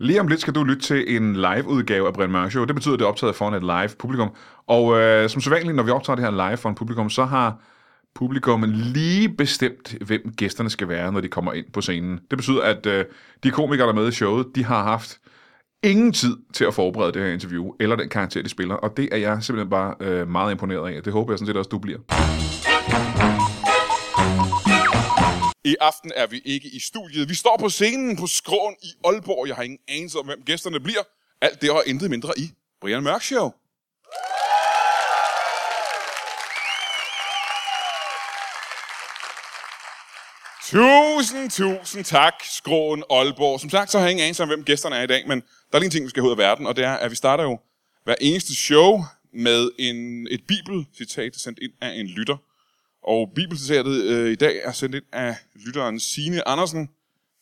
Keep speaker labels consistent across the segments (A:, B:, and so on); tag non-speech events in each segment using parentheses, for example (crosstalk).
A: Lige om lidt skal du lytte til en live-udgave af Brian Mørk Show. Det betyder, at det er optaget foran et live-publikum. Og øh, som sædvanligt, når vi optager det her live foran publikum, så har publikum lige bestemt, hvem gæsterne skal være, når de kommer ind på scenen. Det betyder, at øh, de komikere, der er med i showet, de har haft ingen tid til at forberede det her interview, eller den karakter, de spiller. Og det er jeg simpelthen bare øh, meget imponeret af. Det håber jeg sådan set også, du bliver. I aften er vi ikke i studiet. Vi står på scenen på Skråen i Aalborg. Jeg har ingen anelse om, hvem gæsterne bliver. Alt det og intet mindre i Brian Mørk Show. Tusind, tusind tak, Skråen Aalborg. Som sagt, så har jeg ingen anelse om, hvem gæsterne er i dag, men der er lige en ting, vi skal have ud af verden, og det er, at vi starter jo hver eneste show med en, et bibelcitat, sendt ind af en lytter. Og bibelcitatet øh, i dag er sendt ind af lytteren Sine Andersen.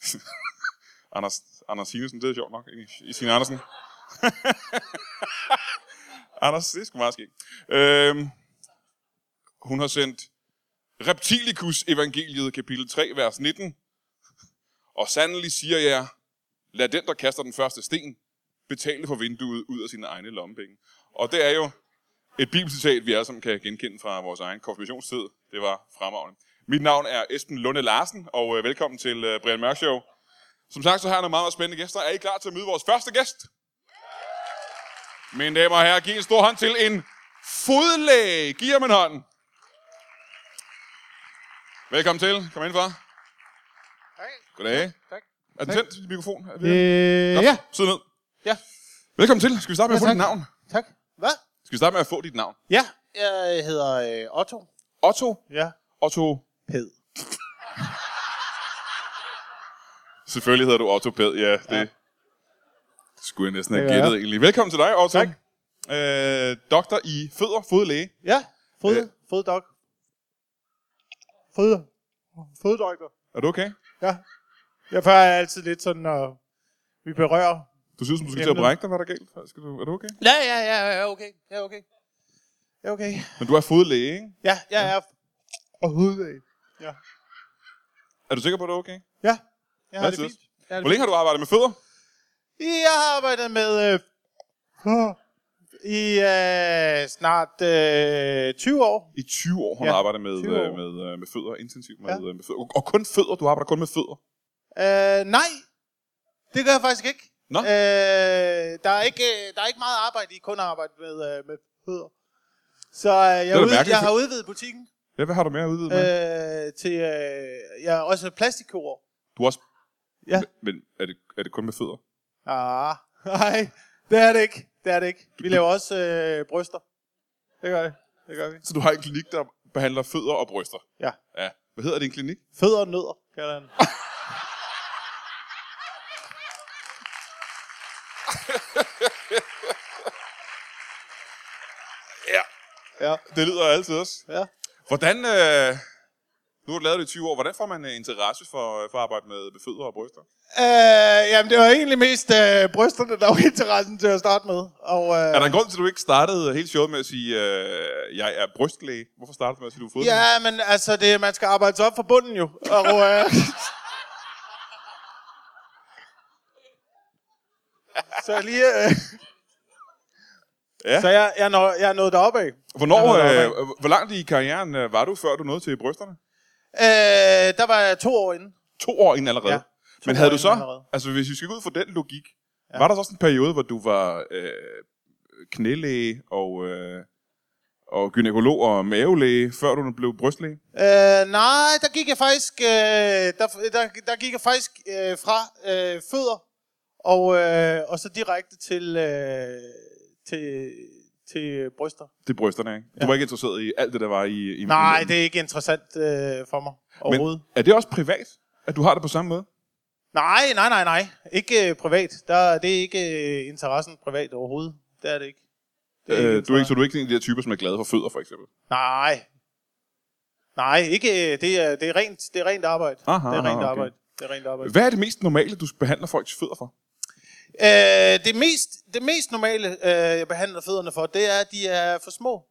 A: (laughs) Anders, Anders Sinesen, det er sjovt nok, ikke? Sine Andersen. (laughs) Anders, det skulle meget ske. Øhm, hun har sendt Reptilicus evangeliet kapitel 3, vers 19. Og sandelig siger jeg, jer, lad den, der kaster den første sten, betale for vinduet ud af sine egne lommepenge. Og det er jo et bibelcitat, vi alle sammen kan genkende fra vores egen konfirmationstid. Det var fremragende. Mit navn er Esben Lunde Larsen, og øh, velkommen til øh, Brian Mørk Show. Som sagt, så har jeg nogle meget, meget spændende gæster. Er I klar til at møde vores første gæst? Mine damer og herrer, giv en stor hånd til en fodlæge. Giv ham en hånd. Velkommen til. Kom ind for.
B: Hej.
A: Goddag.
B: Tak.
A: Er den tændt, mikrofon? Er vi-
B: Øh,
A: Godt.
B: ja,
A: Sid ned.
B: Ja.
A: Velkommen til. Skal vi starte med at
B: Ja,
A: få
B: tak.
A: dit navn?
B: tak. Hvad?
A: Skal vi starte med at få dit navn?
B: Ja, jeg hedder øh, Otto.
A: Otto.
B: Ja.
A: Otto.
B: Ped.
A: Selvfølgelig hedder du ortopæd, ja. Det ja.
B: Ja.
A: skulle jeg næsten have
B: Det gør
A: gættet egentlig. Velkommen til dig, Otto.
B: Tak.
A: Øh, doktor i fødder, fodlæge.
B: Ja, fod,
A: Øh.
B: øh. foddok. Fod, foddoktor.
A: Er du okay?
B: Ja. Jeg føler altid lidt sådan, når vi berører.
A: Du synes, du skal til at
B: Jamen.
A: brække dig. Hvad er der galt? Skal du, er du okay?
B: Ja, ja, ja, ja, okay. Ja, okay. Ja, okay.
A: Men du er fodlæge, ikke?
B: Ja, jeg er og hudvæg. Ja.
A: Er du sikker på, at du er okay?
B: Ja, jeg har
A: Hvad
B: det
A: synes?
B: fint. Jeg har
A: Hvor
B: det
A: længe har du arbejdet med fødder?
B: fint. Jeg har arbejdet med øh, i øh, snart øh, 20 år.
A: I 20 år har du
B: Ja,
A: arbejdet med,
B: 20 år.
A: øh, med, øh, med fødder, intensivt med,
B: Ja.
A: øh, med fødder. Og kun fødder, du arbejder kun med fødder.
B: Øh, nej, det gør jeg faktisk ikke.
A: Nå.
B: Øh, der, er ikke øh, der er ikke meget arbejde i kun at arbejde med, øh, med fødder. Så øh,
A: da
B: jeg, ud,
A: mærkeligt.
B: jeg har udvidet butikken
A: Ja, hvad har du mere at udvide med? Øh.
B: øh, til... Øh, jeg er også plastikkirurg.
A: Du er også...
B: Ja.
A: Men er det, er det kun med fødder?
B: Ah, nej, det er det ikke. Det er det ikke. Vi laver også øh, bryster. Det gør vi. Det gør vi.
A: Så du har en klinik, der behandler fødder og bryster?
B: Ja.
A: Ja. Hvad hedder din klinik?
B: Fødder og nødder, kalder jeg den.
A: Ja.
B: Ja.
A: Det lyder altid også.
B: Ja.
A: Hvordan, øh, nu har du lavet det i 20 år, hvordan får man øh, interesse for, øh, for at arbejde med, med fødder og bryster?
B: Øh, jamen, det var egentlig mest øh, brysterne, der var interessen til at starte med. Og, øh,
A: Er der en grund til, at du ikke startede helt showet med at sige, øh, jeg er brystlæge? Hvorfor startede du med at sige, du er fodlæge?
B: Ja, men altså, det, man skal arbejde sig op fra bunden jo. Og,
A: (laughs)
B: øh, så lige... Øh,
A: Ja.
B: ja. Så jeg, jeg, når, jeg er nået deroppe af.
A: Hvornår,
B: Jeg nåede
A: øh,
B: deroppe
A: øh, hvor langt i karrieren øh, var du, før du nåede til brysterne?
B: Øh, der var jeg to år inde.
A: To år inden allerede.
B: Ja,
A: Men
B: år
A: havde du
B: inden
A: så,
B: allerede.
A: altså hvis vi skal gå ud fra den logik, ja. var der så også en periode, hvor du var øh, knælæge og, øh, og gynækolog og mavelæge, før du blev brystlæge?
B: Øh, nej, der gik jeg faktisk, øh, der, der, der gik jeg faktisk øh, fra øh, fødder og, øh, og så direkte til, øh, til, til bryster.
A: Det er brysterne, ikke? Ja. Du var ikke interesseret i alt det, der var i... i
B: Nej,
A: i,
B: det er ikke interessant øh, for mig overhovedet.
A: Er det også privat, at du har det på samme måde?
B: Nej, nej, nej, nej. Ikke øh, privat. Der, det er ikke øh, interessen privat overhovedet. Det er det ikke. Det
A: Øh, du er ikke,
B: interesse-
A: så du er ikke en af de der typer, som er glade for fødder, for eksempel?
B: Nej. Nej, ikke, øh, det, er, det, er rent, det er rent arbejde.
A: Aha,
B: det er
A: aha,
B: rent
A: okay.
B: arbejde. Det er rent arbejde.
A: Hvad er det mest normale, du behandler folks fødder for?
B: Øh, det, mest, det mest normale, øh, jeg behandler fødderne for, det er, at de er for små.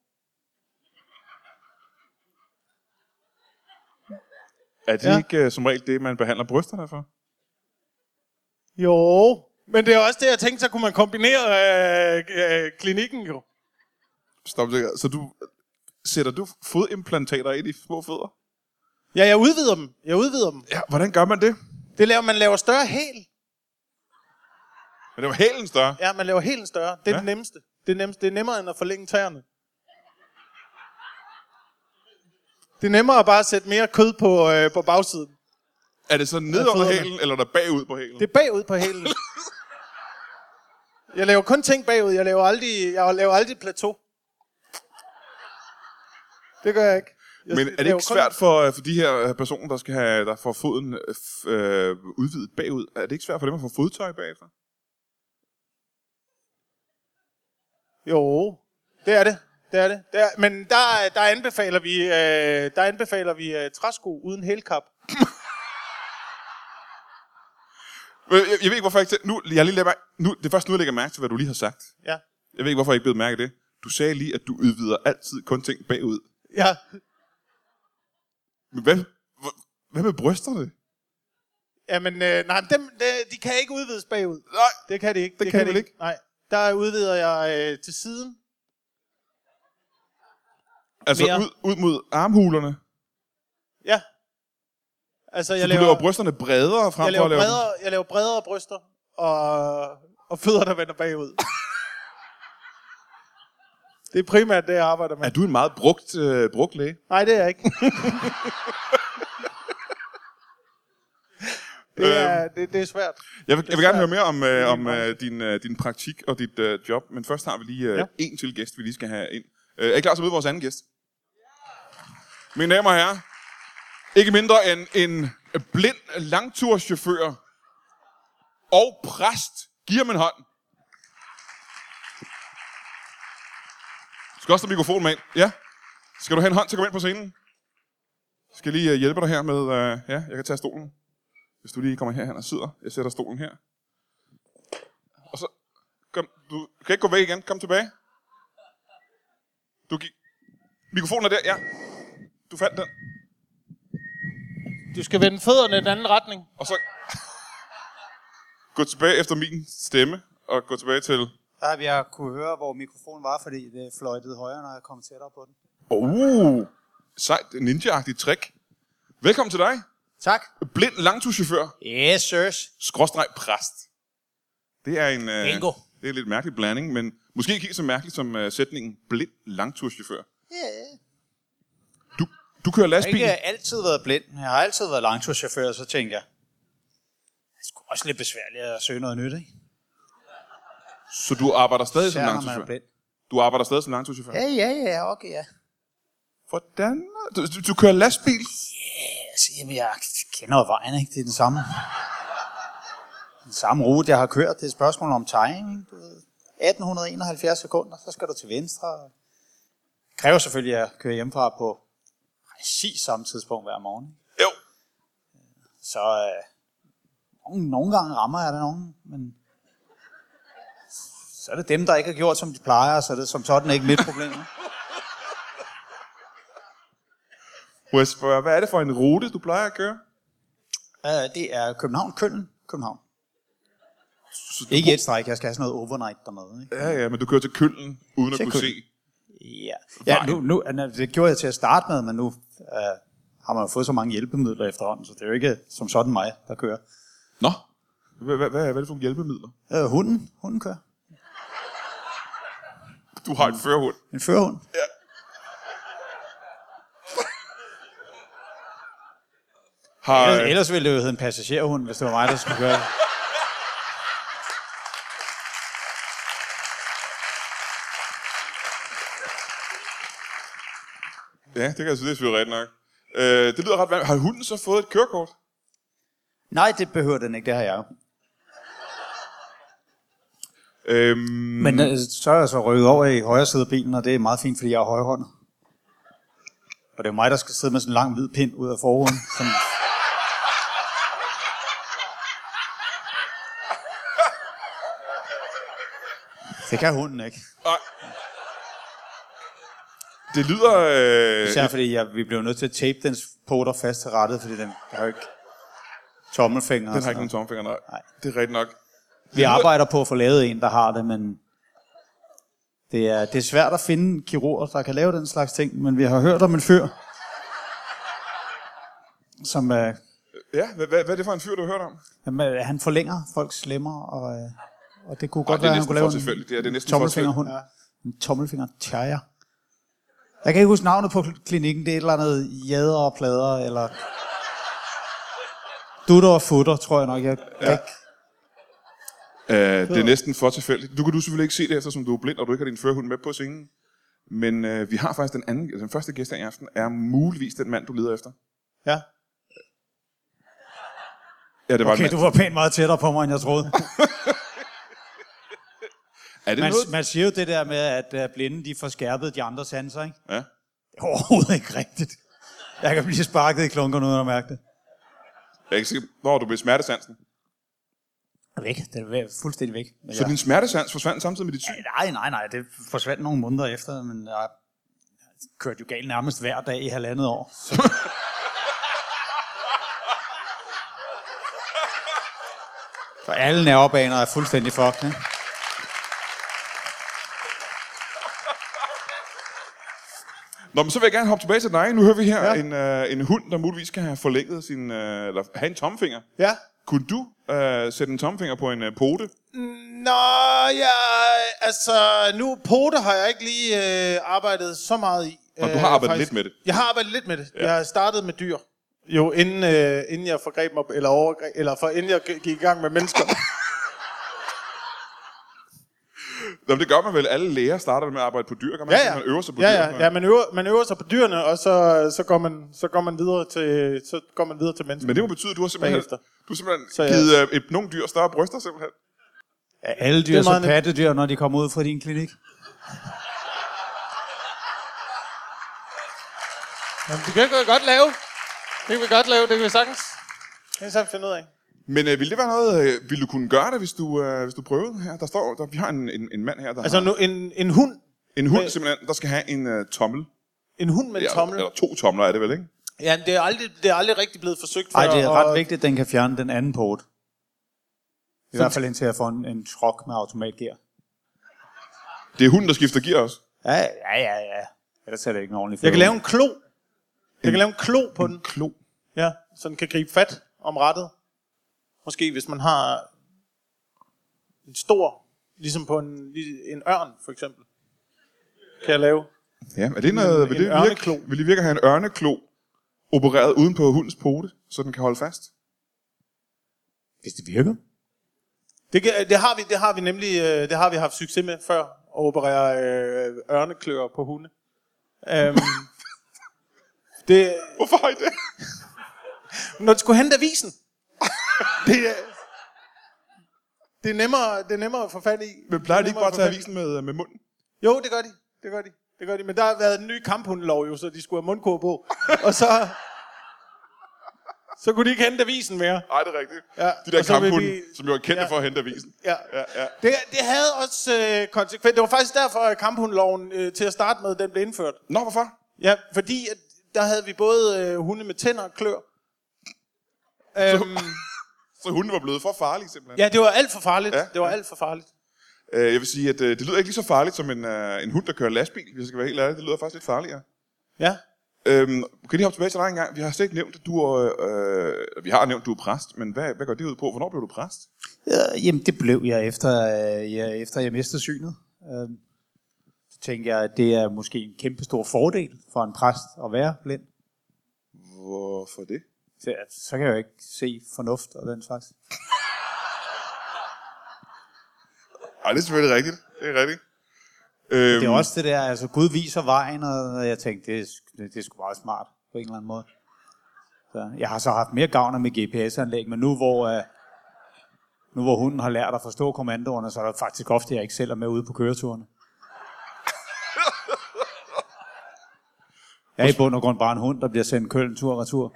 A: Er det ja.
B: Ja.
A: øh, ikke uh, som regel det, man behandler brysterne for?
B: Jo, Men det er også det, jeg tænkte, så kunne man kombinere øh, øh, klinikken jo.
A: Stop det. Så du, sætter du fodimplantater ind i små fødder?
B: Ja, jeg udvider dem. Jeg udvider dem.
A: Ja, hvordan gør man det?
B: Det laver, man laver større hæl.
A: Men det var hælen større.
B: Ja, man laver hælen større. Det
A: Ja.
B: er ja. det nemmeste. Det er, nemmeste. det er nemmere end at forlænge tæerne. Det er nemmere at bare sætte mere kød på, øh, på bagsiden.
A: Er det så ned over
B: fødderne.
A: hælen, eller er der bagud på hælen?
B: Det er bagud på hælen. Jeg laver kun ting bagud. Jeg laver aldrig, jeg laver aldrig plateau. Det gør jeg ikke. Jeg
A: Men er det
B: laver
A: ikke svært for, øh, for de her øh, personer, der skal have der får foden øh, f- øh, udvidet bagud? Er det ikke svært for dem at få fodtøj bagefter?
B: Kun... Jo, det er det. Det er det. det er... Men der, der anbefaler vi, øh, der anbefaler vi øh, træsko uden hælkap.
A: Øh, Jeg, jeg ved ikke, hvorfor jeg ikke... Nu, jeg har lige lavet, mærke- nu, det er først nu, jeg lægger mærke til, hvad du lige har sagt.
B: Ja.
A: Jeg ved ikke, hvorfor jeg ikke blev mærke i det. Du sagde lige, at du udvider altid kun ting bagud.
B: Ja.
A: Men hvad, hvad, hvad med brysterne?
B: Jamen, øh, nej, men dem, de, de kan ikke udvides bagud.
A: Nej,
B: Det kan de ikke. Det,
A: kan de vel ikke?
B: Nej, der udvider jeg øh, til siden.
A: altså
B: Mere.
A: ud, ud mod armhulerne.
B: Ja. Altså, jeg
A: Så
B: laver...
A: du laver brysterne bredere frem
B: jeg
A: for
B: laver,
A: at lave dem.
B: bredere, jeg laver bredere bryster og, og fødder, der vender bagud. det er primært det, jeg arbejder med.
A: Er du en meget brugt, øh, brugt læge?
B: Nej, det er
A: (laughs)
B: jeg ikke.
A: Øhm.
B: det, er, det, det er svært.
A: Jeg vil, jeg vil gerne høre
B: svært.
A: mere om, øh,
B: er
A: om
B: meget
A: øh, din, øh, din praktik og dit øh, job, men først har vi lige øh,
B: Ja.
A: en til gæst, vi lige skal have ind. Øh, er I klar til at møde vores anden gæst? Mine damer og herrer, ikke mindre end en blind langturschauffør og præst. Giv ham en hånd. Du skal også have mikrofonen med ind. Ja. Skal du have en hånd til at komme ind på scenen? Skal jeg lige øh, hjælpe dig her med... Øh, ja, jeg kan tage stolen. Hvis du lige kommer herhen og sidder. Jeg sætter stolen her. Og så... Kom, du kan ikke gå væk igen. Kom tilbage. Du gik... Mikrofonen er der, ja. Du fandt den.
B: Du skal vende fødderne i den anden retning.
A: Og så... (laughs) gå tilbage efter min stemme. Og gå tilbage til...
C: Der har jeg kunne høre, hvor mikrofonen var, fordi det fløjtede højere, når jeg kom tættere på den.
A: Oh, sejt ninja-agtigt trick. Velkommen til dig.
C: Tak.
A: Blind langturschauffør.
C: Yes, sirs.
A: skråstreg præst. Det er en, øh, det
C: Bingo.
A: er en lidt mærkelig blanding, men måske ikke helt så mærkelig som øh, sætningen blind langturschauffør.
C: Yeah.
A: Du, du kører
C: Jeg har
A: lastbil.
C: ikke altid været blind. Jeg har altid været langturschauffør, så tænker jeg, det er sgu også lidt besværligt at søge noget nyt, ikke?
A: Så du arbejder stadig som
C: Især når man er
A: langturschauffør?
C: blind.
A: Du arbejder stadig som langturschauffør?
C: Ja, ja, ja, okay, ja.
A: Hvordan? Du, du, du kører lastbil?
C: Altså, jamen, jeg kender jo vejen, ikke? Det er den samme. Den samme rute, jeg har kørt. Det er et spørgsmål om timing. Du ved, 1871 sekunder, så skal du til venstre. Det kræver selvfølgelig, at jeg kører hjemmefra på præcis samme tidspunkt hver morgen.
A: Jo.
C: Så øh, nogle, nogle gange rammer jeg der nogen, men så er det dem, der ikke har gjort, som de plejer, og så er det som sådan ikke mit
A: (laughs)
C: problem.
A: Må jeg spørge, hvad er det for en rute, du plejer at køre?
C: Øh, det er København, Køln, København.
A: Så du
C: Ikke et stræk, jeg skal have sådan noget overnight dernede. Ikke?
A: Ja, ja, men du kører til Køllen, uden at
C: Til
A: kunne
C: Køln.
A: se.
C: Ja, ja nu, nu, altså, det gjorde jeg til at starte med, men nu øh, har man jo fået så mange hjælpemidler efterhånden, så det er jo ikke som sådan mig, der kører.
A: Nå. Hvad, hvad, hvad er det for nogle hjælpemidler?
C: Øh, hunden, hunden kører.
A: Du har en førerhund.
C: En førhund.
A: Har,
C: Ellers, Øh, ellers ville det jo hedde en passagerhund, hvis det var mig, der skulle køre.
A: Ja, det kan jeg sige, det er selvfølgelig rigtigt nok. Øh, det lyder ret vanvittigt. Har hunden så fået et kørekort?
C: Nej, det behøver den ikke, det har jeg jo.
A: Øhm,
C: Men øh, så er jeg så rykket over i højre side af bilen, og det er meget fint, fordi jeg er højrehåndet. Og det er jo mig, der skal sidde med sådan en lang hvid pind ud af forhuden. (laughs) Sådan. Det kan hunden ikke.
A: Nej. Det lyder... Øh,
C: Især fordi jeg, vi blev nødt til at tape dens poter fast til rettet, fordi den har jo ikke tommelfingre.
A: den har ikke nogen tommelfinger, nej.
C: Nej.
A: Det er rigtigt nok.
C: Vi arbejder på at få lavet en, der har det, men det er, det er svært at finde kirurger, der kan lave den slags ting, men vi har hørt om en fyr, som øh,
A: Ja, hvad, hvad, hvad er det for en fyr, du har hørt om?
C: jamen, øh, han forlænger folks lemmer, og, øh, og det kunne
A: Ej,
C: godt
A: det er
C: være,
A: næsten
C: at han kunne
A: for
C: lave en
A: tilfældigt. Det er, det er næsten for tilfældigt.
C: tommelfingerhund. En tommelfinger tjejer. Jeg kan ikke huske navnet på klinikken. Det er et eller andet jader og plader, eller... Dutter og futter, tror jeg nok. Jeg, ja. jeg,
A: Øh, det er næsten for tilfældigt. Du kan du selvfølgelig ikke se det, eftersom du er blind, og du ikke har din førhund med på scenen. Men øh, vi har faktisk den anden, altså, den første gæst her i aften, er muligvis den mand, du leder efter.
B: Ja.
A: Ja, det var
C: okay,
A: en
C: du
A: mand.
C: var pænt meget tættere på mig, end jeg troede.
A: Er det
C: Man,
A: noget?
C: man siger jo det der med, at øh, blinde de får skærpet de andre sanser, ikke?
A: Ja.
C: Det er overhovedet ikke rigtigt. Jeg kan blive sparket i klunkerne uden at mærke det.
A: Jeg er ikke sikker. Nå, du blev smertesansen.
C: Væk. Det er væ- fuldstændig væk. Men
A: Så
C: jeg-
A: din smertesans forsvandt samtidig med dit syn?
C: Nej, nej, nej. Det forsvandt nogle måneder efter, men jeg kørte jo galt nærmest hver dag i halvandet år. Så... Så alle nervebaner er fuldstændig fucked, ikke?
A: Nå, men så vil jeg gerne hoppe tilbage til dig. Nu hører vi her ja. en, øh, en hund, der muligvis kan have forlænget sin... Øh, eller have en tomfinger.
B: Ja.
A: Kunne du øh, sætte en tomfinger på en øh, pote?
B: Nå, ja, altså, nu pote har jeg ikke lige øh, arbejdet så meget i. øh,
A: Nå, du har arbejdet lidt med det.
B: Jeg har arbejdet lidt med det. Ja. Jeg har startet med dyr. Jo, inden, øh, inden jeg forgreb mig, eller, overgreb, eller for, inden jeg g- gik i gang med mennesker.
A: Nå, men det gør man vel. Alle læger starter med at arbejde på dyr, kan man?
B: ja,
A: ikke?
B: ja.
A: Man øver sig på
B: ja,
A: dyr.
B: ja. ja man, øver, man øver sig på dyrene, og så, så, går man, så, går man videre til, så går man videre til mennesker.
A: Men det må betyde, at du har simpelthen,
B: Bagefter.
A: du har simpelthen
B: Så jeg-
A: givet øh, et, nogle dyr større bryster, simpelthen.
C: Er alle dyr
B: Det er
C: så
B: meget nemt.
C: pattedyr, når de kommer ud fra din klinik?
B: Jamen, det kan vi godt lave. Det kan vi godt lave, det kan vi sagtens. Det kan vi sagtens finde ud af.
A: Men øh, ville det være noget, øh, ville du kunne gøre det, hvis du, øh, hvis du prøvede her? Der står, der, vi har en, en, en mand her, der
B: Altså
A: har
B: nu, en, en hund,
A: en hund, simpelthen, der skal have en øh, tommel.
B: en hund med en tommel.
A: Eller, eller to tomler er det vel, ikke?
B: Ja, men det er aldrig, det er aldrig rigtig blevet forsøgt før.
C: Nej, det er
B: og-
C: ret vigtigt, at den kan fjerne den anden port. I hvert fald indtil jeg får en, en trok med automatgear.
A: Det er hunden, der skifter gear også.
C: Ja, ja, ja, ja. Ellers er det ikke en ordentlig
B: Jeg kan
C: føde.
B: lave en klo. Jeg kan lave en klo på den.
A: Klo.
B: Ja, så den kan gribe fat om rettet. Måske hvis man har en stor, ligesom på en, en ørn for eksempel, kan jeg lave.
A: Ja, er det noget, vil,
B: en
A: det virke,
B: ørneklo.
A: vil det virke at have en ørneklo opereret uden på hundens pote, så den kan holde fast?
C: Hvis det virker.
B: Det, kan, det, har vi, det har vi nemlig øh, det har vi haft succes med før, at operere øh, ørneklør på hunde. Øhm, det,
A: Hvorfor har I (laughs) det?
B: når du skulle hente avisen, det, er- det, er nemmere, det er nemmere at få fat i.
A: Men plejer de
B: Det er
A: ikke bare at tage
B: nemmere at få fat i.
A: avisen med, med munden?
B: Jo, det gør de. Det gør de. Det gør de. Men der har været en ny kamphundelov jo, så de skulle have mundkur på. Og så... Så kunne de ikke hente avisen mere.
A: Nej, det er rigtigt.
B: Ja,
A: De der
B: og så vil
A: kamphunde,
B: de-
A: som jo er kendte
B: Ja.
A: for at hente avisen.
B: Ja.
A: Ja, ja.
B: Det, det havde også øh, konsekvens. Det var faktisk derfor, at kamphundloven øh, til at starte med, den blev indført.
A: Nå, hvorfor?
B: Ja, fordi at, der havde vi både øh, hunde med tænder og klør. Øhm,
A: Så hunden var blevet for farlig, simpelthen.
B: ja, det var alt for farligt.
A: Ja,
B: Ja, det var alt for farligt.
A: Øh, jeg vil sige, at øh, det lyder ikke lige så farligt som en, øh, en hund, der kører lastbil, hvis jeg skal være helt ærlig. Det lyder faktisk lidt farligere.
B: Ja.
A: Øhm, kan jeg lige hoppe tilbage til dig engang? Vi har slet ikke nævnt, at du er, øh, vi har nævnt, at du er præst, men hvad, hvad går det ud på? Hvornår blev du præst?
C: Øh, jamen, det blev jeg efter, øh, ja, efter jeg mistede synet. Øh, så tænkte jeg, at det er måske en kæmpe stor fordel for en præst at være blind.
A: Hvorfor det?
C: Så, så kan jeg jo ikke se fornuft og den slags.
A: Ej, det er selvfølgelig rigtigt. Det er rigtigt. Øhm,
C: Det er også det der, altså Gud viser vejen, og jeg tænkte, det er, sk- det det er sgu meget smart på en eller anden måde. Så, jeg har så haft mere gavn af mit GPS-anlæg, men nu hvor, øh, nu hvor hunden har lært at forstå kommandoerne, så er det faktisk ofte, jeg ikke selv er med ude på køreturene. Jeg er i bund og grund bare en hund, der bliver sendt køln tur og retur.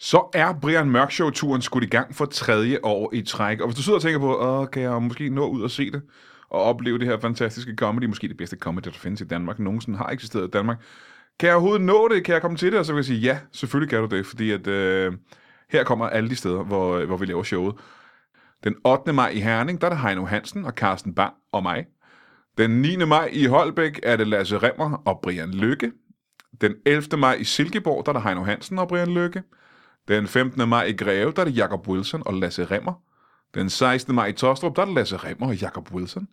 D: Så er Brian Mørk Show turen skudt i gang for tredje år i træk. Og hvis du sidder og tænker på, Åh, kan jeg måske nå ud og se det, og opleve det her fantastiske comedy, måske det bedste comedy, der findes i Danmark, nogensinde har eksisteret i Danmark. Kan jeg overhovedet nå det? Kan jeg komme til det? Og så vil jeg sige, ja, selvfølgelig kan du det, fordi at, øh, Her kommer alle de steder, hvor, øh, hvor vi laver showet. Den 8. maj i Herning, der er det Heino Hansen og Carsten Bang og mig. Den 9. maj i Holbæk er det Lasse Remmer og Brian Lykke. Den 11. maj i Silkeborg, der er det Heino Hansen og Brian Lykke. Den 15. maj i Greve, der er det Jakob Wilson og Lasse Remmer. Den 16. maj i Tostrup, der er det Lasse Remmer og Jakob Wilson.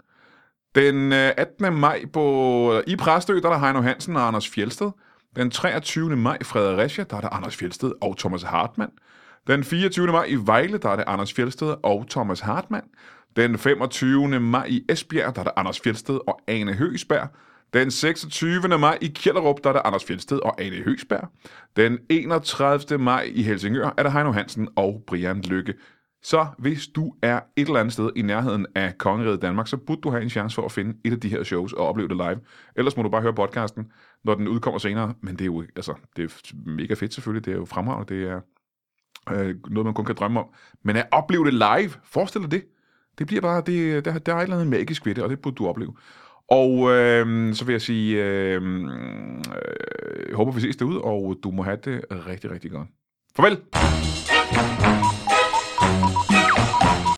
D: Den øh, 18. maj på, i Præstø, der er der Heino Hansen og Anders Fjelsted. Den 23. maj i Fredericia, der er der Anders Fjelsted og Thomas Hartmann. Den 24. maj i Vejle, der er det Anders Fjelsted og Thomas Hartmann. Den 25. maj i Esbjerg, der er der Anders Fjelsted og Ane Høgsberg. Den 26. maj i Kjellerup, der er der Anders Fjelsted og Ane Høgsberg. Den 31. maj i Helsingør er der Heino Hansen og Brian Lykke. Så hvis du er et eller andet sted i nærheden af Kongeriget Danmark, så burde du have en chance for at finde et af de her shows og opleve det live. Ellers må du bare høre podcasten, når den udkommer senere. Men det er jo altså, det er mega fedt selvfølgelig. Det er jo fremragende. Det er øh, noget, man kun kan drømme om. Men at opleve det live, forestil dig det. Det bliver bare, det, der, der er et eller andet magisk ved det, og det burde du opleve. Og øh, så vil jeg sige, øh, øh, jeg håber vi ses derude, og du må have det rigtig, rigtig godt. Farvel!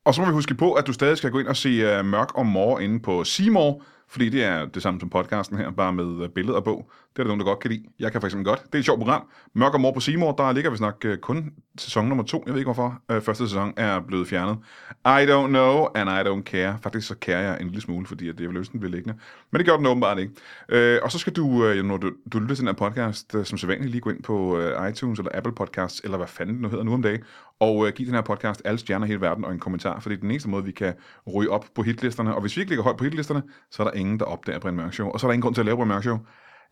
D: Og så må vi huske på, at du stadig skal gå ind og se uh, Mørk og Mor inde på Seymour, fordi det er det samme som podcasten her, bare med uh, billeder og bog. Det er der nogen, der godt kan lide. Jeg kan for eksempel godt. Det er et sjovt program. Mørk og Mor på Seymour, der ligger vist nok uh, kun sæson nummer to. Jeg ved ikke hvorfor. Uh, første sæson er blevet fjernet. I don't know, and I don't care. Faktisk så kærer jeg en lille smule, fordi at det er vel løsningen bliver liggende. Men det gør den åbenbart ikke. Uh, og så skal du, uh, når du, du lytter til den her podcast, uh, som sædvanligt lige gå ind på uh, iTunes eller Apple Podcasts, eller hvad fanden det nu hedder nu om dagen, og øh, giv den her podcast alle stjerner i hele verden og en kommentar, for det er den eneste måde, vi kan ryge op på hitlisterne. Og hvis vi ikke ligger højt på hitlisterne, så er der ingen, der opdager Brian Mørk Show. Og så er der ingen grund til at lave Brian Mørk Show.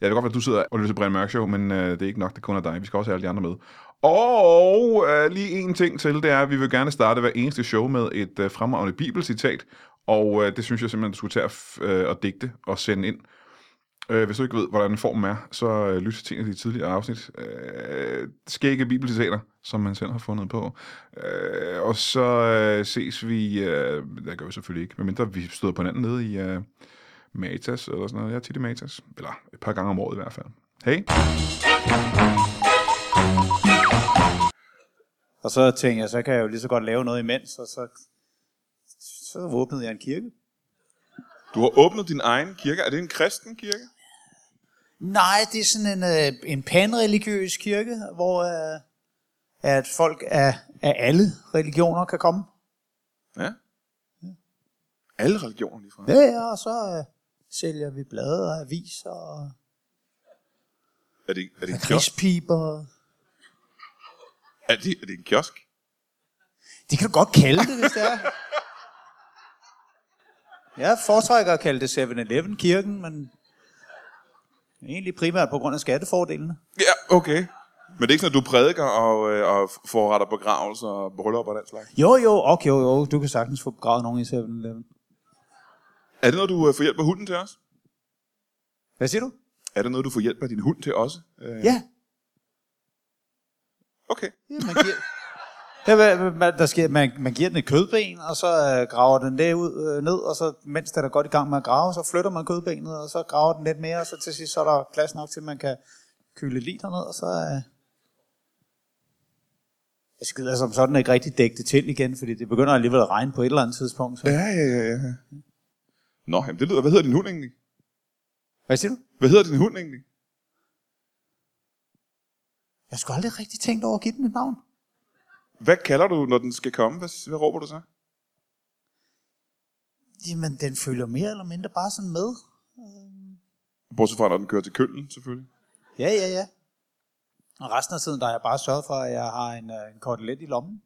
D: Jeg ved godt, at du sidder og lytter til Brian Mørk Show, men øh, det er ikke nok, det kun er dig. Vi skal også have alle de andre med. Og øh, lige en ting til, det er, at vi vil gerne starte hver eneste show med et øh, fremragende bibelcitat. Og øh, det synes jeg simpelthen, du skulle tage at f- øh, og digte og sende ind. Øh, hvis du ikke ved, hvordan formen er, så øh, lyt til en af de tidligere afsnit. Øh, skægge bibelcitater, som man selv har fundet på. Øh, og så øh, ses vi, øh, det gør vi selvfølgelig ikke, medmindre vi støder på hinanden nede i øh, Matas eller sådan noget. Jeg er tit i Matas, eller et par gange om året i hvert fald. Hej!
C: Og så tænkte jeg, så kan jeg jo lige så godt lave noget imens, og så, så åbnede jeg en kirke.
A: Du har åbnet din egen kirke. Er det en kristen kirke?
C: Nej, det er sådan en, øh, en panreligiøs kirke, hvor øh, at folk af, af alle religioner kan komme.
A: Ja. Alle religioner lige fra.
C: Ja, ja, og så øh, sælger vi blade og aviser og
A: Er det, er det en kiosk?
C: krispiber.
A: Er det, er det en kiosk?
C: Det kan du godt kalde det, hvis det er. (laughs) Jeg foretrækker at kalde det 7-Eleven kirken, men egentlig primært på grund af skattefordelene.
A: Ja, okay. Men det er ikke sådan, at du prædiker og, øh, og forretter begravelser og bryllupper og den slags?
C: Jo, jo, og jo, jo, du kan sagtens få begravet nogen i 7-Eleven.
A: Er det noget, du øh, får hjælp af hunden til også?
C: Hvad siger du?
A: Er det noget, du får hjælp af din hund til også? Øh,
C: Ja,
A: Okay.
C: ja man giver... Ja, hvad- hvad- hvad der sker, man, man giver den et kødben, og så øh, graver den det ud, øh, ned, og så mens den er godt i gang med at grave, så flytter man kødbenet, og så graver den lidt mere, og så til sidst så er der plads nok til, at man kan køle lidt ned, og så... Øh, jeg skider som sådan ikke rigtig dække det til igen, fordi det begynder alligevel at regne på et eller andet tidspunkt. Så.
A: Ja, ja, ja, ja. Nå, jamen, det lyder... Hvad hedder din hund egentlig?
C: Hvad siger du?
A: Hvad hedder din hund egentlig?
C: Jeg skulle aldrig rigtig tænkt over at give den et navn.
A: Hvad kalder du, når den skal komme? Hvad, hvad råber du så?
C: Jamen, den følger mere eller mindre bare sådan med.
A: Bortset fra, når den kører til køllen, selvfølgelig.
C: Ja, ja, ja. Og resten af tiden, der har jeg bare sørget for, at jeg har en, øh, en kotelet i lommen.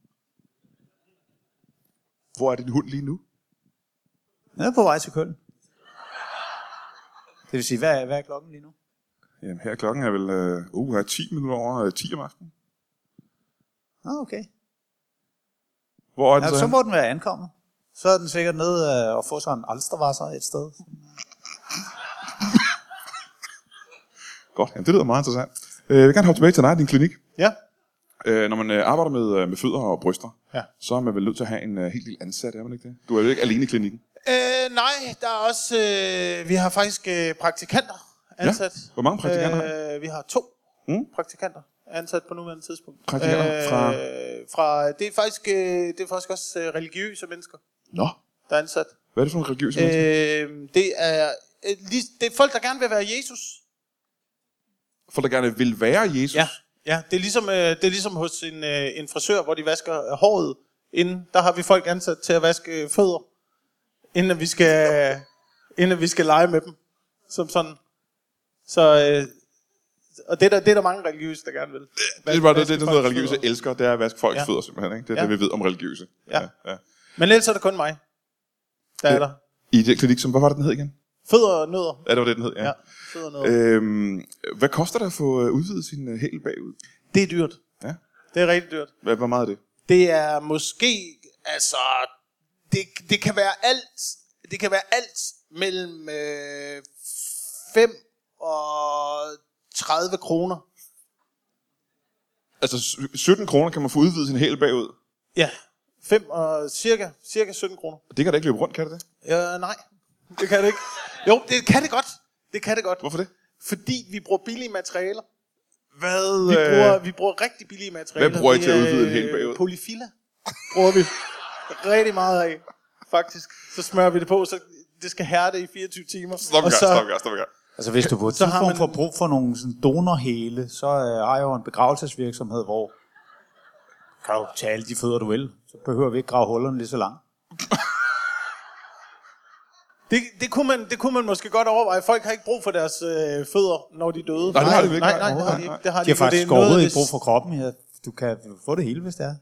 A: Hvor er din hund lige nu?
C: Jeg er på vej til Køln. Det vil sige, hvad er, hvad er klokken lige nu?
A: Jamen, her klokken er vel... Øh, uh, er 10 minutter over øh, 10 om aftenen.
C: Ah, okay.
A: Hvor er den
C: Ja,
A: så,
C: så
A: så
C: må den være ankommet. Så er den sikkert nede øh, og få sig en alstervasser et sted.
A: Godt, jamen, det lyder meget interessant. Øh, jeg vil gerne hoppe tilbage til dig og din klinik.
B: Ja.
A: Øh, når man øh, arbejder med, øh, med fødder og bryster,
B: Ja.
A: så er man vel nødt til at have en øh, helt lille ansat, er man ikke det? Du er jo ikke alene i klinikken.
B: Øh, nej, der er også... Øh, vi har faktisk øh, praktikanter ansat.
A: Hvor mange praktikanter har
B: Øh, vi har to
A: Mm.
B: mm. praktikanter. ansat på nuværende tidspunkt. Øh,
A: Prædikerer fra-
B: fra... Det er faktisk, øh, det er faktisk også øh, religiøse mennesker,
A: Nå,
B: der er ansat.
A: hvad er det for en religiøs øh,
B: Øh, det, er, øh, lige- det er folk, der gerne vil være Jesus.
A: For der gerne vil være Jesus.
B: Ja, ja. Det, er ligesom, øh, det er ligesom hos en, øh, en frisør, hvor de vasker øh, håret inden. Der har vi folk ansat til at vaske øh, fødder, inden at vi skal, inden at vi skal lege med dem. Som sådan. Så, øh, og det er, der, det er der mange religiøse, der gerne vil.
A: Det er bare det,
B: Vaske
A: det, det
B: folks
A: noget religiøse
B: fødder.
A: elsker, det er at vaske folks ja.
B: Ja.
A: fødder simpelthen. Ikke? Det er ja.
B: Ja.
A: det, vi ved om religiøse.
B: Ja.
A: ja.
B: Men ellers er det kun mig, der
A: Ja.
B: er der.
A: I den klinik, som, hvad var det, den hed igen?
B: Fødder og nødder.
A: Ja, det var det, den hed, ja.
B: Ja,
A: ja.
B: fødder og nødder.
A: Øhm, hvad koster det at få øh, udvidet sin øh, hæl bagud?
B: Det er dyrt.
A: Ja.
B: Det er rigtig dyrt.
A: Hvad, hvor meget er det?
B: Det er måske, altså, det, det kan være alt, det kan være alt mellem øh, 5 og 30 kroner.
A: Altså, sy- 17 kroner kan man få udvidet sin hæl bagud.
B: Ja, 5 og cirka, cirka 17 kroner.
A: Det kan da ikke løbe rundt, kan det det?
B: Ja, nej, det kan det ikke. Jo, det kan det godt. Det kan det godt.
A: Hvorfor det?
B: Fordi vi bruger billige materialer.
A: Hvad? øh,
B: Vi bruger, vi bruger rigtig billige materialer.
A: Hvad bruger I
B: Vi,
A: til at udvide en
B: øh,
A: hel bagud?
B: Polyfiller bruger vi rigtig meget af, faktisk. Så smører vi det på, så det skal hærde i 24 timer.
A: Stop en
B: og
A: gang,
B: så,
A: stop en gang, stop en gang.
C: Altså hvis du på et
B: Så har
C: tidspunkt man...
B: man-
C: får brug for nogle sådan donorhæle, så øh, har jeg jo en begravelsesvirksomhed, hvor kan du tage alle de fødder, du vil. Så behøver vi ikke grave hullerne lige så langt.
B: Det, det, kunne man, det kunne man måske godt overveje. Folk har ikke brug for deres øh, fødder, når de er døde.
A: Nej, det har de vel ikke.
B: Nej, nej, det har de ikke. Det har
C: De
B: ikke,
C: har
B: og det
C: faktisk
B: er noget,
C: overhovedet ikke
B: hvis-
C: brug for kroppen. Ja, du kan få det hele, hvis det er.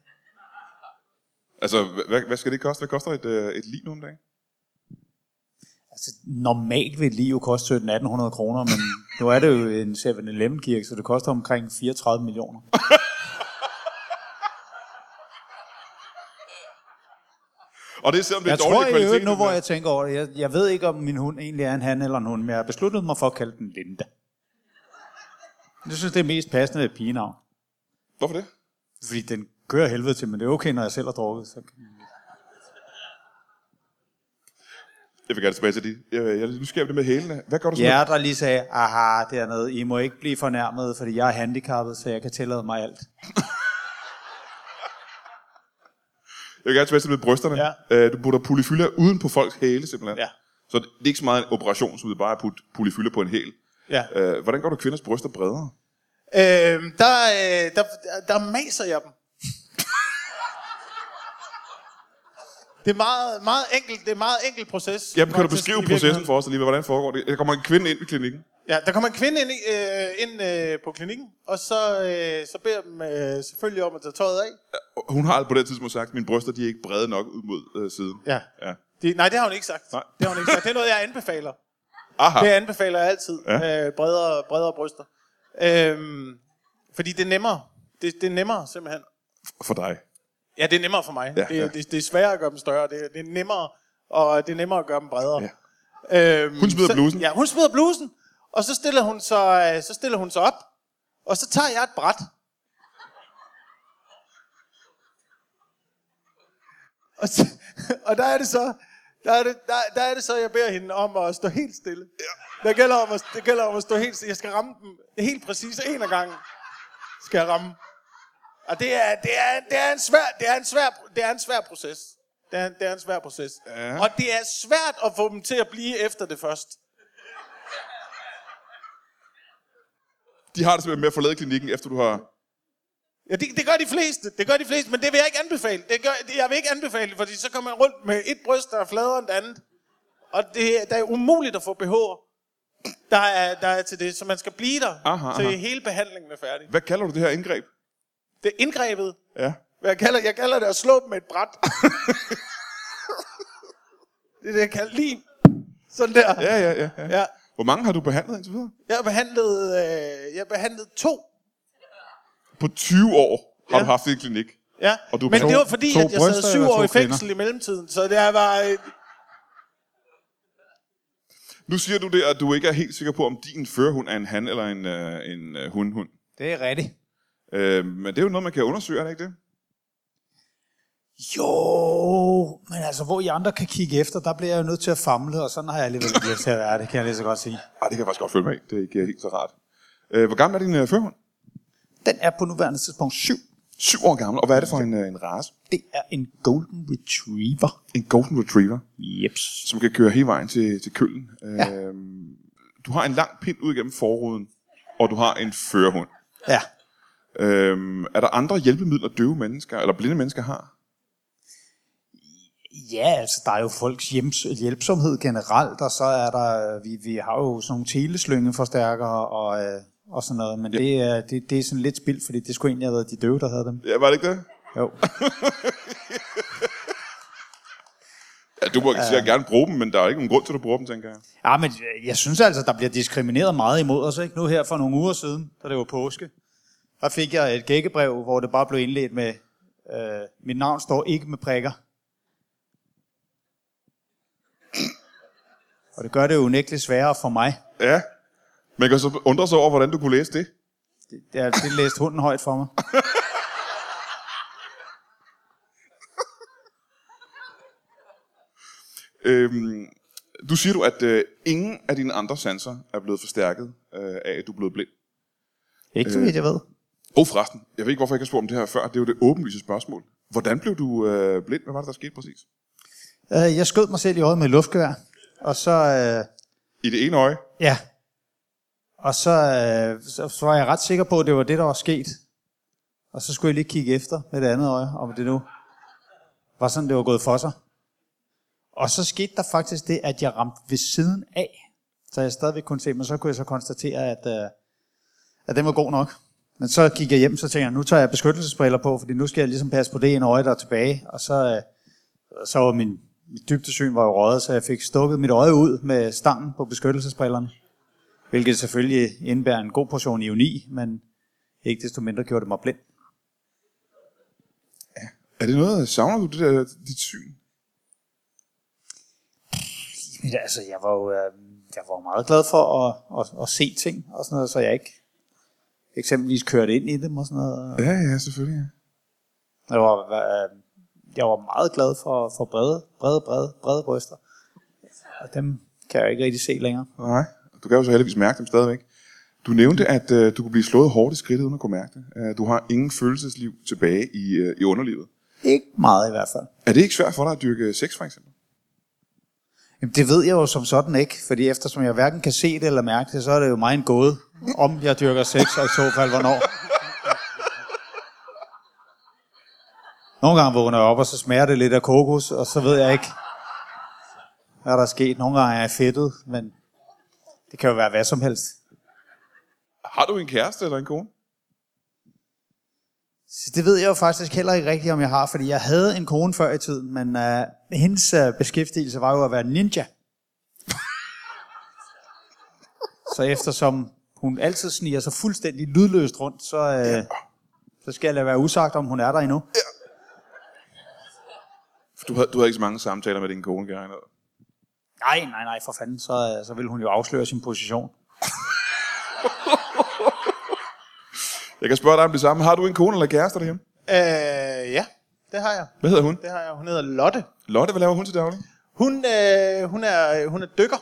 A: Altså, hvad, hvad skal det koste? Hvad koster et, øh, et liv nu om dagen?
C: Altså, normalt vil et liv koste 1700-1800 kroner, men nu er det jo en 7-Eleven-kirke, så det koster omkring 34 millioner.
A: Og det er selvom det er
C: Jeg
A: dårlig
C: tror i
A: kvalitet.
C: øvrigt nu,
A: den
C: hvor
A: her.
C: jeg tænker over det, jeg, jeg ved ikke, om min hund egentlig er en han eller en hund, men jeg har besluttet mig for at kalde den Linda. Jeg synes, det er mest passende et pigenavn.
A: Hvorfor det?
C: Fordi den kører helvede til, men det er okay, når jeg selv har drukket. Så...
A: Jeg vil gerne tilbage til det. Jeg, jeg, nu sker jeg det med hælene. Hvad gør du så med
C: Jeg der lige sagde, aha, dernede, I må ikke blive fornærmet, fordi jeg er handicappet, så jeg kan tillade mig alt.
A: Jeg vil gerne tilbage til det med brysterne.
B: Ja.
A: Øh, du putter polyfylder uden på folks hæle, simpelthen.
B: Ja.
A: Så det det er ikke så meget en operation, som det bare er at putte polyfylder på en hæl.
B: Ja.
A: Øh, hvordan gør du kvinders bryster bredere?
B: Øhm, der, øh, der, der maser jeg dem. Det er meget, meget enkelt, det er en meget enkel proces.
A: Jamen, kan du
B: faktisk,
A: beskrive
B: i
A: processen
B: virkeligheden.
A: for os lige? Hvordan foregår det? Der kommer en kvinde ind i klinikken.
B: Ja, der kommer en kvinde ind, i- øh, ind øh, på klinikken, og så, øh, så beder jeg dem øh, selvfølgelig om at tage tøjet af.
A: Og Hun har på det tidspunkt sagt, at mine bryster de er ikke brede nok ud mod øh, siden.
B: Ja.
A: ja.
B: Det, nej, det har hun ikke sagt.
A: Nej.
B: Det har hun ikke sagt. Det er noget, jeg
A: (laughs)
B: anbefaler.
A: Aha.
B: Det anbefaler jeg altid.
A: Ja.
B: Ja. Øh, bredere, bredere bryster. Øhm, fordi det er nemmere. Det, det er nemmere simpelthen.
A: For dig.
B: Ja, det er nemmere for mig.
A: Ja,
B: Ja, det,
A: ja.
B: ja. Det, det er sværere at gøre dem større. Det, det er nemmere, og det er nemmere at gøre dem bredere. Ja. Øhm,
A: Hun smider
B: så,
A: blusen.
B: Ja, hun smider blusen. Og så stiller hun sig, så stiller hun sig op. Og så tager jeg et bræt. Og, så, og der er det så, der er det, der, der er det så, jeg beder hende om at stå helt stille. Ja. Det, gælder om at, det gælder om at stå helt stille. Jeg skal ramme dem helt præcis en af gangen. Skal jeg ramme. Og det er, det er, det er, en, svær, det er, en, svær, det er en svær proces. Det er, det er en svær proces.
A: Ja.
B: Og det er svært at få dem til at blive efter det først.
A: De har det simpelthen med at forlade klinikken, efter du har...
B: Ja, det, det gør de fleste. Det gør de fleste, men det vil jeg ikke anbefale. Det gør, det, jeg vil ikke anbefale det, fordi så kommer man rundt med et bryst, der er fladere end det andet. Og det, er- der er umuligt at få BH'er. Der er, der er til det, så man skal blive der,
A: Aha,
B: til
A: aha.
B: hele behandlingen er færdig.
A: Hvad kalder du det her indgreb?
B: Det er indgrebet.
A: Ja.
B: Hvad Jeg kalder, jeg kalder det at slå dem med et bræt. (laughs) det er det, jeg kalder lige. Sådan der.
A: Ja, ja, ja, ja.
B: Ja.
A: Hvor mange har du behandlet indtil videre?
B: Jeg har behandlet, øh, jeg har behandlet to.
A: På 20 år har
B: Ja.
A: du haft det i klinik.
B: Ja.
A: Og du
B: Men
A: to-
B: det var fordi,
C: to
B: at jeg sad
C: bryster
B: syv
C: eller to
B: år i
C: kvinder?
B: fængsel i mellemtiden, så det var... Øh,
A: Nu siger du det, at du ikke er helt sikker på, om din førerhund er en han eller en, øh, en øh, hun-hund.
C: Det er rigtigt.
A: Øh, men det er jo noget, man kan undersøge, er det ikke det?
C: Jo, men altså, hvor I andre kan kigge efter, der bliver jeg jo nødt til at famle, og sådan har jeg alligevel ikke lyst til at være, det kan jeg lige så godt sige.
A: øh, Ej, det kan jeg faktisk godt følge med i. Det er ikke helt så rart. Øh, hvor gammel er din øh, førhund?
C: Den er på nuværende tidspunkt syv.
A: Syv år gammel, og hvad er det for en, øh, en race?
C: Det er en Golden Retriever.
A: En Golden Retriever,
C: Jeps.
A: som kan køre hele vejen til, til køllen. Ja. Øhm, du har en lang pind ud gennem forruden, og du har en førerhund.
C: Ja.
A: Øhm, er der andre hjælpemidler, døve mennesker eller blinde mennesker har?
C: Ja, altså der er jo folks hjems- hjælpsomhed generelt, og så er der, vi, vi har jo sådan nogle teleslyngeforstærkere og, øh, og sådan noget, men ja. det, er, det, det er sådan lidt spild, fordi det skulle egentlig have været de døve, der havde dem.
A: Ja, var det ikke det?
C: Jo.
A: Ja, du må øh. gerne bruge dem, men der er ikke nogen grund til, at du bruger dem, tænker jeg.
C: Ja, men jeg synes altså, der bliver diskrimineret meget imod os, ikke? Nu her for nogle uger siden, da det var påske, der fik jeg et gækkebrev, hvor det bare blev indledt med, øh, mit navn står ikke med prikker. Og det gør det jo unægteligt sværere for mig.
A: Ja. Man kan så undre sig over, hvordan du kunne læse det.
C: Det, det læste hunden højt for mig.
A: Øhm, du siger du, at øh, ingen af dine andre sanser er blevet forstærket øh, af, at du er blevet blind.
C: Ikke så vidt jeg ved.
A: Og forresten, jeg ved ikke, hvorfor jeg ikke har spurgt om det her før. Det er jo det åbenlyse spørgsmål. Hvordan blev du øh, blind? Hvad var det, der skete præcis?
C: Øh, jeg skød mig selv i øjet med et luftgevær, og så... Øh,
A: I det ene øje?
C: Ja. Og så, øh, så, så var jeg ret sikker på, at det var det, der var sket. Og så skulle jeg lige kigge efter med det andet øje, om det nu var sådan, det var gået for sig. Og så skete der faktisk det, at jeg ramte ved siden af. Så jeg stadigvæk kunne se, men så kunne jeg så konstatere, at, øh, at den var god nok. Men så gik jeg hjem, så tænkte jeg, nu tager jeg beskyttelsesbriller på, fordi nu skal jeg ligesom passe på det ene øje, der er tilbage. Og så, øh, så var min, mit dybdesyn var jo røget, så jeg fik stukket mit øje ud med stangen på beskyttelsesbrillerne. Hvilket selvfølgelig indebærer en god portion ironi, men ikke desto mindre gjorde det mig blind.
A: Er det noget, savner du det der, dit syn?
C: Men altså, jeg var jo, øh, jeg var jo meget glad for at, at, at, se ting og sådan noget, så jeg ikke eksempelvis kørte ind i dem og sådan noget.
A: Ja, ja, selvfølgelig. ja.
C: Jeg var, øh, jeg var meget glad for, for brede, brede, brede, brede bryster. Og dem kan jeg jo ikke rigtig se længere.
A: Nej, du kan jo så heldigvis mærke dem stadigvæk. Du nævnte, at øh, du kunne blive slået hårdt i skridtet, uden at kunne mærke det. Øh, du har ingen følelsesliv tilbage i, øh, i underlivet.
C: Ikke meget i hvert fald.
A: Er det ikke svært for dig at dyrke sex, for eksempel?
C: Jamen, det ved jeg jo som sådan ikke, fordi eftersom jeg hverken kan se det eller mærke det, så er det jo mig en gåde, om jeg dyrker sex, og i så fald hvornår. Nogle gange vågner jeg op, og så smager det lidt af kokos, og så ved jeg ikke, hvad der er sket. Nogle gange er jeg fedtet, men det kan jo være hvad som helst.
A: Har du en kæreste eller en kone?
C: Så det ved jeg jo faktisk heller ikke rigtigt, om jeg har, fordi jeg havde en kone før i tiden, men øh, hendes øh, beskæftigelse var jo at være ninja. så eftersom hun altid sniger sig fuldstændig lydløst rundt, så, øh, så skal jeg lade være usagt, om hun er der endnu.
A: For Du havde, du havde ikke så mange samtaler med din kone, kan jeg regne ud.
C: Nej, nej, nej, for fanden, så, øh, så vil hun jo afsløre sin position.
A: Jeg kan spørge dig om det samme. Har du en kone eller kæreste derhjemme?
B: Øh, ja, det har jeg.
A: Hvad hedder hun?
B: Det har jeg. Hun hedder Lotte.
A: Lotte, hvad laver hun til daglig?
B: Hun, øh, hun, er, hun er dykker.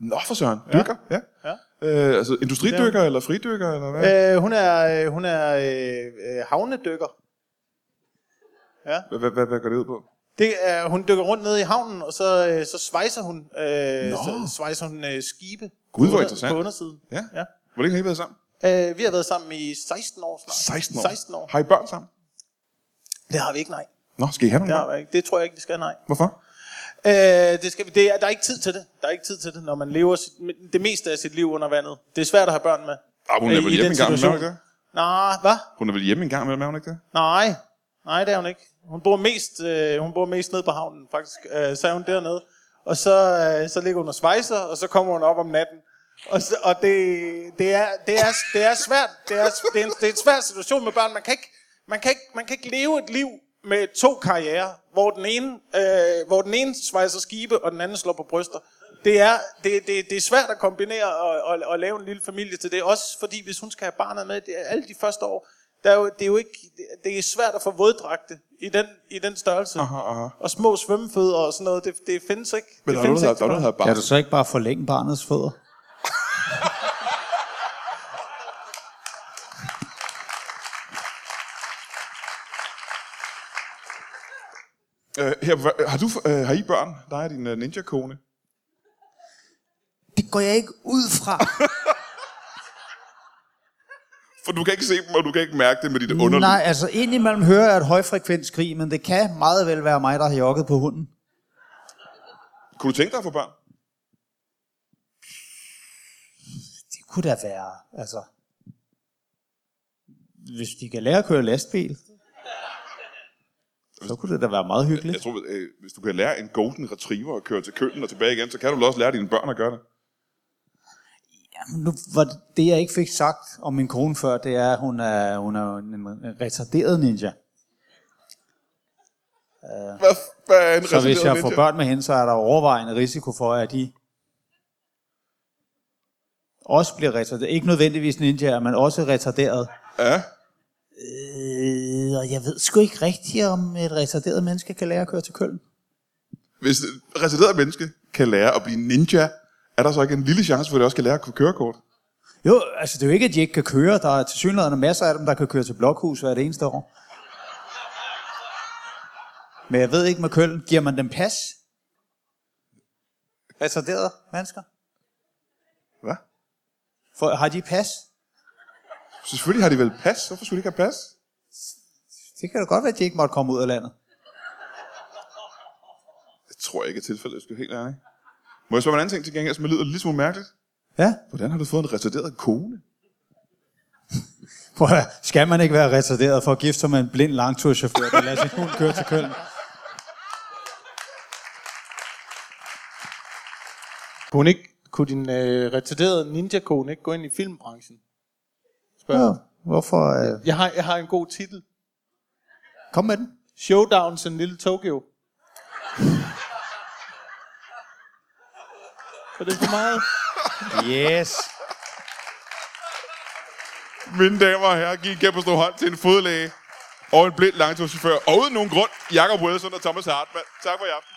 A: Nå, for søren. Dykker? Ja.
B: Ja.
A: Øh, altså industridykker eller fridykker eller hvad?
B: Øh, hun er, øh, hun er øh, øh, havnedykker.
A: Hvad, hvad, hvad, hvad går det ud på?
B: Det er, hun dykker rundt nede i havnen, og så, øh, så svejser hun, øh, så svejser hun øh, skibe
A: Gud, hvor
B: på,
A: interessant.
B: på undersiden.
A: Ja.
B: ja.
A: Hvor længe har I været sammen?
B: Øh, vi har været sammen i 16 år snart.
A: 16 år. Mm-hmm.
B: 16 år.
A: Har I børn sammen?
B: Det har vi ikke, nej.
A: Nå, skal I have nogle
B: Det,
A: børn?
B: har vi ikke. det tror jeg ikke, vi skal, nej.
A: Hvorfor?
B: Øh, det skal vi, det er, der er ikke tid til det. Der er ikke tid til det, når man lever sit, det meste af sit liv under vandet. Det er svært at have børn med.
A: Ah, hun er
B: Øh,
A: vel
B: i
A: hjemme
B: den
A: en gang imellem, er hun ikke
B: situation.
A: det?
B: Nej, hvad?
A: Hun er vel hjemme en gang imellem, er hun ikke det?
B: Nej, nej, det er hun ikke. Hun bor mest, øh, hun bor mest nede på havnen, faktisk. Øh, så er hun dernede. Og så, øh, så ligger hun og svejser, og så kommer hun op om natten. Og, så, og det, det, er, det, er, det er svært. Det er, det, er en, det er en svær situation med børn. Man kan ikke, man kan ikke, man kan ikke leve et liv med to karrierer, hvor den ene, øh, hvor den ene svejser skibe, og den anden slår på bryster. Det er, det, det, det er svært at kombinere og, og, og lave en lille familie til det. Også fordi, hvis hun skal have barnet med, det er alle de første år, der er jo, det er jo ikke, det- det er svært at få våddragte i den, i den størrelse.
A: Aha, aha.
B: Og små svømmefødder og sådan noget, det, det findes ikke.
A: Men
B: det
A: der er
B: findes
A: noget, der, der, er noget, der hedder
C: Kan
A: barsel.
C: du så ikke bare forlænge barnets fødder?
A: Øh, her, hva- har, du, øh, har I børn? Dig og din øh, ninja-kone?
E: Det går jeg ikke ud fra.
A: For du kan ikke se dem, og du kan ikke mærke det med dit underliv.
C: Nej, altså indimellem hører jeg et højfrekvent skrig, men det kan meget vel være mig, der har jokket på hunden.
A: Kunne du tænke dig at få børn?
C: Det kunne da være, altså... Hvis de kan lære at køre lastbil, så kunne det da være meget hyggeligt.
A: Jeg tror, øh, hvis du kan lære en golden retriever at køre til køkken og tilbage igen, så kan du vel også lære dine børn at gøre det.
C: Nu var det- det, jeg ikke fik sagt om min kone før, det er, at hun er, hun er en en retarderet ninja.
A: Hvad, f- hvad er en
C: Så hvis
A: reserveret
C: jeg får
A: ninja?
C: børn med hende, så er der overvejende risiko for, at de også bliver retarderet. Ikke nødvendigvis ninjaer, men også retarderet.
A: Ja.
C: Øh, og jeg ved sgu ikke rigtigt, om et retarderet menneske kan lære at køre til Køln.
A: Hvis et reserveret menneske kan lære at blive ninja, er der så ikke en lille chance for, at det også kan lære at kunne køre kort?
C: Jo, altså det er jo ikke, at de ikke kan køre. Der er til synligheden masser af dem, der kan køre til blokhus hver det eneste år. Men jeg ved ikke med Køln, giver man dem pas? Retarderede mennesker?
A: Hvad?
C: For, har de pas?
A: Selvfølgelig har de vel pas. Hvorfor skulle de ikke have pas?
C: Det kan da godt være, at de ikke måtte komme ud af landet.
A: Det tror jeg ikke er tilfældet, jeg skal være helt ærlig. Må jeg spørge om en anden ting til gengæld, som lyder lidt smule mærkeligt?
C: Ja,
A: Hvordan har du fået en retarderet kone?
C: Prøv at, høre, skal man ikke være retarderet for at gifte sig med en blind langturschauffør, der lader sin hund køre til Køln?
B: Kunne, hun ikke, kunne din øh, retarderede ninja-kone ikke gå ind i filmbranchen? Spørg.
C: Ja,
B: Ja.
C: hvorfor? Øh,
B: Jeg, har, jeg har en god titel.
C: kom med den.
B: Showdowns in Little Tokyo. Så det er for meget.
C: Yes.
A: Mine damer og herrer, giv en kæmpe stor hånd til en fodlæge og en blind langturschauffør. Og uden nogen grund, Jakob Wilson og Thomas Hartmann. Tak for i aften.